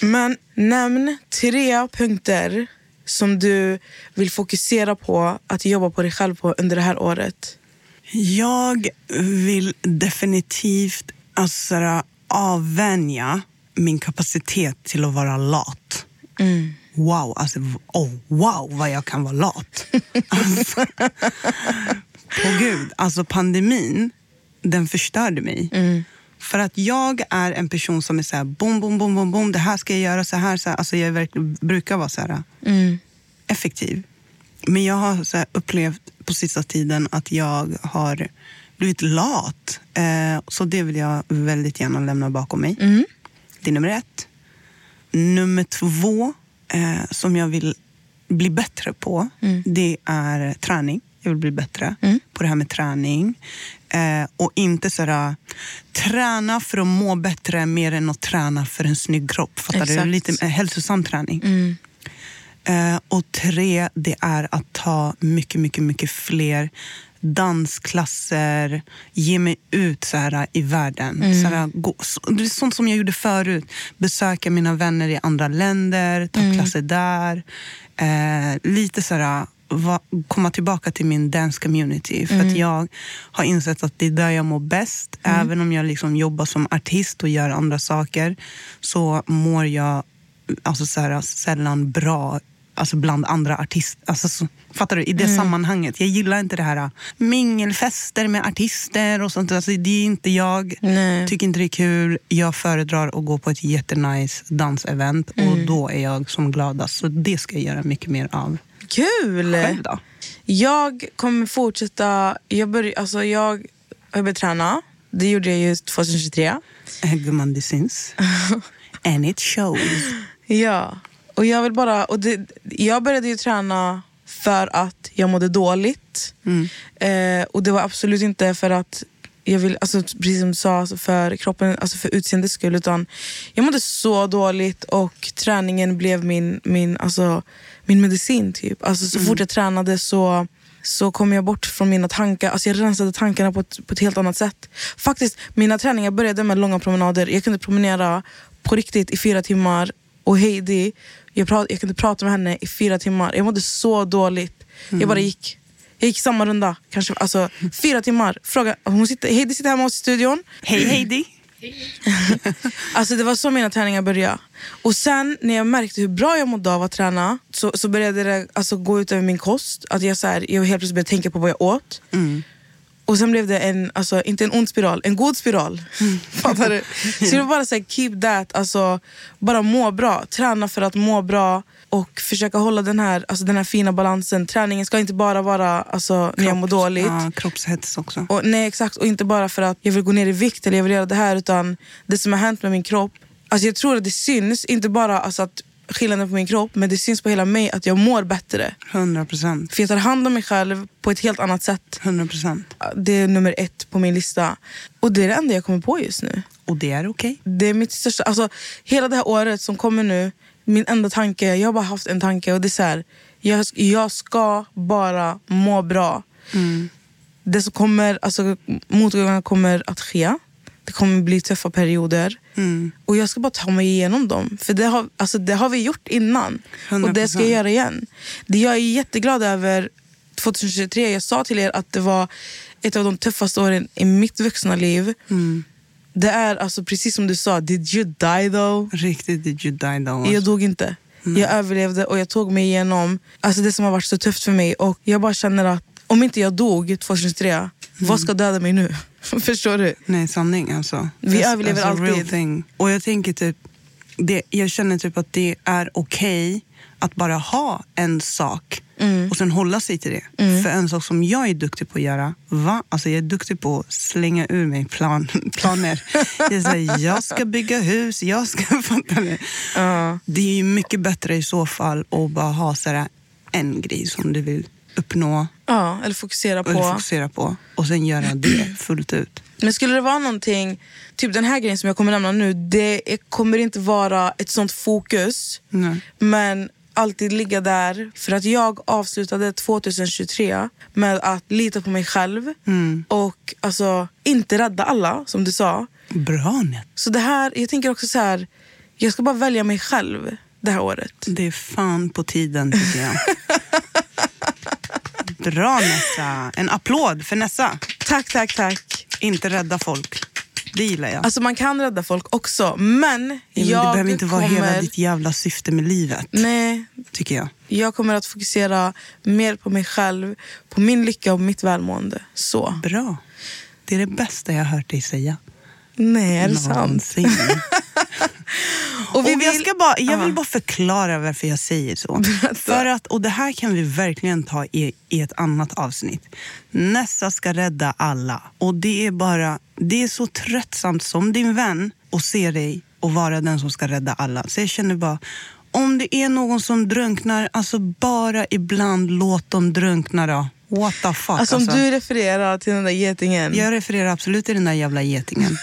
S2: Men nämn tre punkter som du vill fokusera på att jobba på dig själv på under det här året.
S3: Jag vill definitivt alltså, så här, avvänja min kapacitet till att vara lat. Wow, alltså, oh, wow vad jag kan vara lat. Alltså, på gud, alltså pandemin, den förstörde mig. För att jag är en person som är så här, bom, bom, bom, bom, bom, det här ska jag göra, så här, så här. Alltså jag är verkligen, brukar vara så här effektiv. Men jag har så här upplevt på sista tiden att jag har blivit lat. Eh, så det vill jag väldigt gärna lämna bakom mig. Det är nummer ett. Nummer två, eh, som jag vill bli bättre på, det är träning. jag vill bli bättre på det här med träning. Eh, och inte sådär, träna för att må bättre mer än att träna för en snygg kropp. Fattar
S2: Exakt.
S3: du? Lite eh, hälsosam träning. Eh, och tre, det är att ta mycket, mycket, mycket fler dansklasser, ge mig ut så här, i världen. Så här, gå, så, det är sånt som jag gjorde förut. Besöka mina vänner i andra länder, ta klasser där. Eh, lite så här, va, komma tillbaka till min dance community. För att jag har insett att det är där jag mår bäst. Även om jag liksom jobbar som artist och gör andra saker så mår jag alltså så här, sällan bra alltså bland andra artister. Alltså, så, fattar du? I
S2: Mm.
S3: det sammanhanget. Jag gillar inte det här ah, mingelfester med artister och sånt. Alltså, det är inte jag.
S2: Nej.
S3: Tycker inte det är kul. Jag föredrar att gå på ett jättenice dansevent
S2: Mm.
S3: och då är jag som gladast. Så det ska jag göra mycket mer av.
S2: Kul!
S3: Själv då?
S2: Jag kommer fortsätta... Jag, börj, alltså jag har börjat träna. Det gjorde jag ju 2023.
S3: Eh, Gumman, det
S2: (laughs)
S3: syns. And it shows.
S2: Ja, och jag vill bara... Och det, jag började ju träna för att jag mådde dåligt. Eh, och det var absolut inte för att jag vill, alltså, precis som du sa, alltså för kroppen, alltså för utseendets skull. Utan jag mådde så dåligt och träningen blev min, min, alltså, min medicin. typ. Alltså, så fort jag tränade så så kom jag bort från mina tankar. Alltså jag rensade tankarna på ett, på ett helt annat sätt. Faktiskt, mina träningar började med långa promenader. Jag kunde promenera på riktigt i fyra timmar. Och Heidi, jag, pra- jag kunde prata med henne i fyra timmar. Jag mådde så dåligt. Jag bara gick. Jag gick samma runda. Kanske, alltså, fyra timmar. Fråga, hon sitter, Heidi sitter hemma hos oss i studion.
S3: Hej Heidi!
S2: Alltså det var så mina träningar började. Och sen när jag märkte hur bra jag mådde av att träna så, så började det alltså, gå ut över min kost. Att jag, så här, jag helt plötsligt började tänka på vad jag åt. Och sen blev det en, alltså, inte en ond spiral, en god spiral. (laughs) Fattar du? Så det var bara så här, keep that, alltså, bara må bra. Träna för att må bra och försöka hålla den här, alltså, den här fina balansen. Träningen ska inte bara vara alltså, när jag mår dåligt.
S3: Ja, kroppshets också.
S2: Och, nej exakt, och inte bara för att jag vill gå ner i vikt eller jag vill göra det här utan det som har hänt med min kropp. Alltså jag tror att det syns, inte bara alltså att skillnaden på min kropp men det syns på hela mig att jag mår bättre.
S3: 100 procent.
S2: För jag tar hand om mig själv på ett helt annat sätt.
S3: 100 procent.
S2: Det är nummer ett på min lista. Och det är det enda jag kommer på just nu.
S3: Och det är okej.
S2: Det är mitt största, alltså hela det här året som kommer nu, min enda tanke, jag har bara haft en tanke och det är så här, jag, jag ska bara må bra. Det som kommer, alltså motgångarna kommer att ske. Det kommer bli tuffa perioder. Och jag ska bara ta mig igenom dem. För det har, alltså, det har vi gjort innan. Och det ska jag
S3: 100%.
S2: göra igen. Det jag är jätteglad över 2023, jag sa till er att det var ett av de tuffaste åren i mitt vuxna liv. Det är alltså precis som du sa, did you die though?
S3: Riktigt did you die though.
S2: Jag dog inte.
S3: Mm.
S2: Jag överlevde och jag tog mig igenom alltså det som har varit så tufft för mig. Och Jag bara känner att om inte jag dog 2023,
S3: Mm.
S2: vad ska döda mig nu? (laughs) Förstår du?
S3: Nej, sanning alltså.
S2: Vi
S3: That's-
S2: överlever
S3: that's a real
S2: alltid.
S3: thing. Och jag tänker typ, det, jag känner typ att det är okej att bara ha en sak
S2: Mm.
S3: och sen hålla sig till det. För en sak som jag är duktig på att göra, va? Alltså jag är duktig på att slänga ur mig plan, (laughs) planer. jag, är så här, jag ska bygga hus, jag ska (laughs) fatta det. Det är ju mycket bättre i så fall att bara ha så här, en grej som du vill uppnå
S2: Ja, eller fokusera på...
S3: eller fokusera på och sen göra
S2: (clears throat)
S3: det fullt ut.
S2: Men skulle det vara någonting, typ den här grejen som jag kommer nämna nu, det är- kommer inte vara ett sånt fokus.
S3: Nej.
S2: Men alltid ligga där. För att jag avslutade 2023 med att lita på mig själv
S3: Mm.
S2: och alltså, inte rädda alla, som du sa.
S3: Bra Net.
S2: Så det här, jag tänker också så här, jag ska bara välja mig själv det här året.
S3: Det är fan på tiden tycker
S2: (laughs)
S3: jag. Bra Nessa! En applåd för Nessa.
S2: Tack, tack, tack.
S3: Inte rädda folk. Det gillar jag.
S2: Alltså man kan rädda folk också, men
S3: Men
S2: jag
S3: det behöver inte vara
S2: kommer...
S3: hela ditt jävla syfte med livet,
S2: Nej,
S3: tycker jag.
S2: Jag kommer att fokusera mer på mig själv, på min lycka och mitt välmående. Så.
S3: Bra. Det är det bästa jag har hört dig säga.
S2: Nej, är det sant?
S3: Någonsin.
S2: Och vi
S3: och jag,
S2: vill-
S3: ska bara, jag vill
S2: Ja.
S3: bara förklara varför jag säger
S2: (laughs)
S3: så. För att, och Det här kan vi verkligen ta i, i ett annat avsnitt. Nessa ska rädda alla. Och Det är bara det är så tröttsamt som din vän att se dig och vara den som ska rädda alla. Så jag känner bara, om det är någon som drunknar, alltså bara ibland låt dem drunkna då. What the fuck. alltså.
S2: Alltså, om du refererar till den där getingen.
S3: Jag refererar absolut till den där jävla
S2: (laughs)
S3: getingen.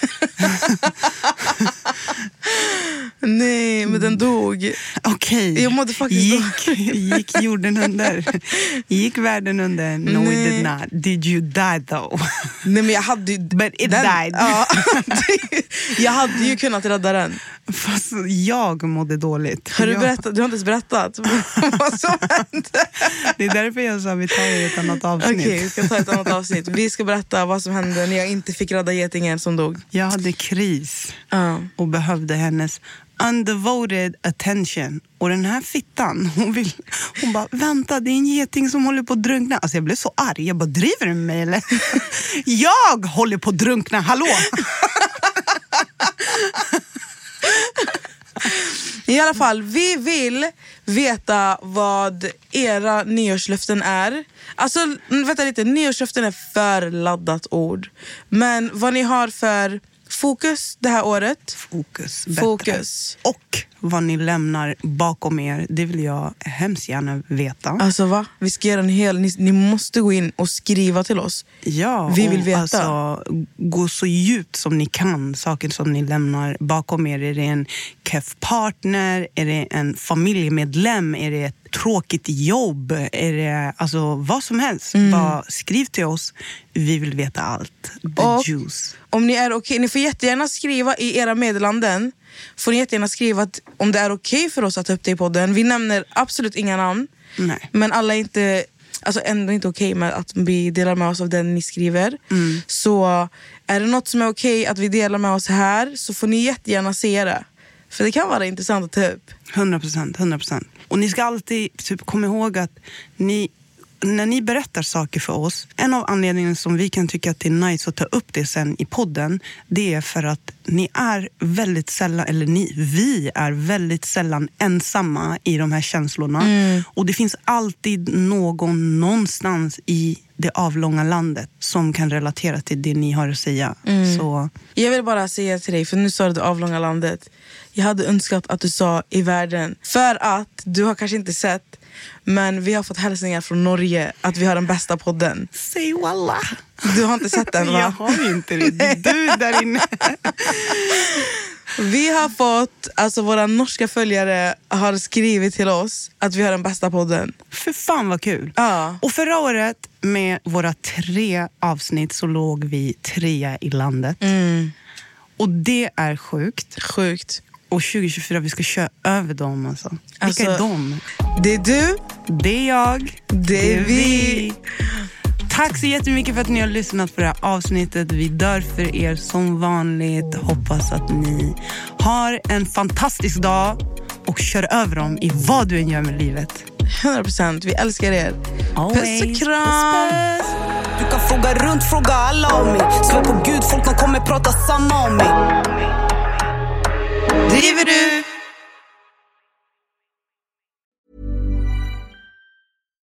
S2: Nej, men den dog.
S3: Okej.
S2: Jag mådde faktiskt
S3: gick, gick jorden under? Gick världen under? No, it did not. Did you die though?
S2: (laughs) Nej, men jag hade ju...
S3: But it died.
S2: Ja, (laughs) jag hade ju kunnat rädda den.
S3: (laughs) Fast jag mådde dåligt.
S2: Har du,
S3: Jag-
S2: berättat? du har inte ens berättat (laughs) vad som hände.
S3: Det är därför jag sa att vi tar det i ett annat
S2: Okej,
S3: avsnitt.
S2: vi ska ta ett annat avsnitt. Vi ska berätta vad som hände när jag inte fick rädda getingen som dog.
S3: Jag hade kris
S2: Ja.
S3: och behövde hennes undevoted attention. Och den här fittan, hon, vill, hon bara “vänta, det är en geting som håller på att drunkna”. Alltså jag blev så arg. Jag bara “driver du med mig eller?” (laughs) “Jag håller på att drunkna, hallå!”
S2: I alla fall, vi vill veta vad era nyårslöften är. Alltså, mm, vänta lite. Nyårslöften är för laddat ord. Men vad ni har för fokus det här året.
S3: Fokus. Bättre.
S2: Fokus.
S3: Och vad ni lämnar bakom er, det vill jag hemskt gärna veta.
S2: Alltså va? Vi ska göra en hel... Ni, ni måste gå in och skriva till oss.
S3: Ja,
S2: Vi vill
S3: och
S2: veta.
S3: Alltså, gå så djupt som ni kan. Saker som ni lämnar bakom er. Är det en keff partner? Är det en familjemedlem? Är det ett tråkigt jobb? Är det, alltså, vad som helst.
S2: Mm.
S3: Bara skriv till oss. Vi vill veta allt. The
S2: Och-
S3: juice.
S2: Om ni är okej, ni får jättegärna skriva i era meddelanden Får ni jättegärna skriva att, om det är okej för oss att ta upp det i podden. Vi nämner absolut inga namn.
S3: Nej.
S2: Men alla är inte, alltså ändå inte okej med att vi delar med oss av den ni skriver.
S3: Mm.
S2: Så är det något som är okej att vi delar med oss här så får ni jättegärna se det. För det kan vara intressant att ta upp.
S3: 100 procent. 100 procent. Och ni ska alltid typ, komma ihåg att ni, när ni berättar saker för oss, en av anledningarna som vi kan tycka att det är nice att ta upp det sen i podden, det är för att ni är väldigt sällan, eller ni, vi är väldigt sällan ensamma i de här känslorna. Och det finns alltid någon någonstans i det avlånga landet som kan relatera till det ni har att säga. Så
S2: Jag vill bara säga till dig, för nu sa du det avlånga landet. Jag hade önskat att du sa i världen. För att, du har kanske inte sett, men vi har fått hälsningar från Norge att vi har den bästa podden.
S3: säg wallah!
S2: Du har inte sett den va?
S3: (laughs) Jag har inte det. Det är du där (laughs) inne.
S2: Vi har fått, alltså våra norska följare har skrivit till oss att vi har den bästa podden.
S3: För fan vad kul!
S2: Ja.
S3: Och förra året med våra tre avsnitt så låg vi trea i landet.
S2: Mm.
S3: Och det är sjukt.
S2: Sjukt.
S3: Och 2024, vi ska köra över dem alltså.
S2: Alltså-
S3: Vilka är de?
S2: Det är du,
S3: Det är jag.
S2: det är vi.
S3: Tack så jättemycket för att ni har lyssnat på det här avsnittet. Vi dör för er som vanligt. Hoppas att ni har en fantastisk dag och kör över dem i vad du än gör med livet.
S2: 100%, vi älskar er.
S3: Always.
S2: Puss och kram.
S1: Du kan fråga runt, fråga alla om mig. Svär på gud, folk de kommer prata samma om mig.
S2: Driver du?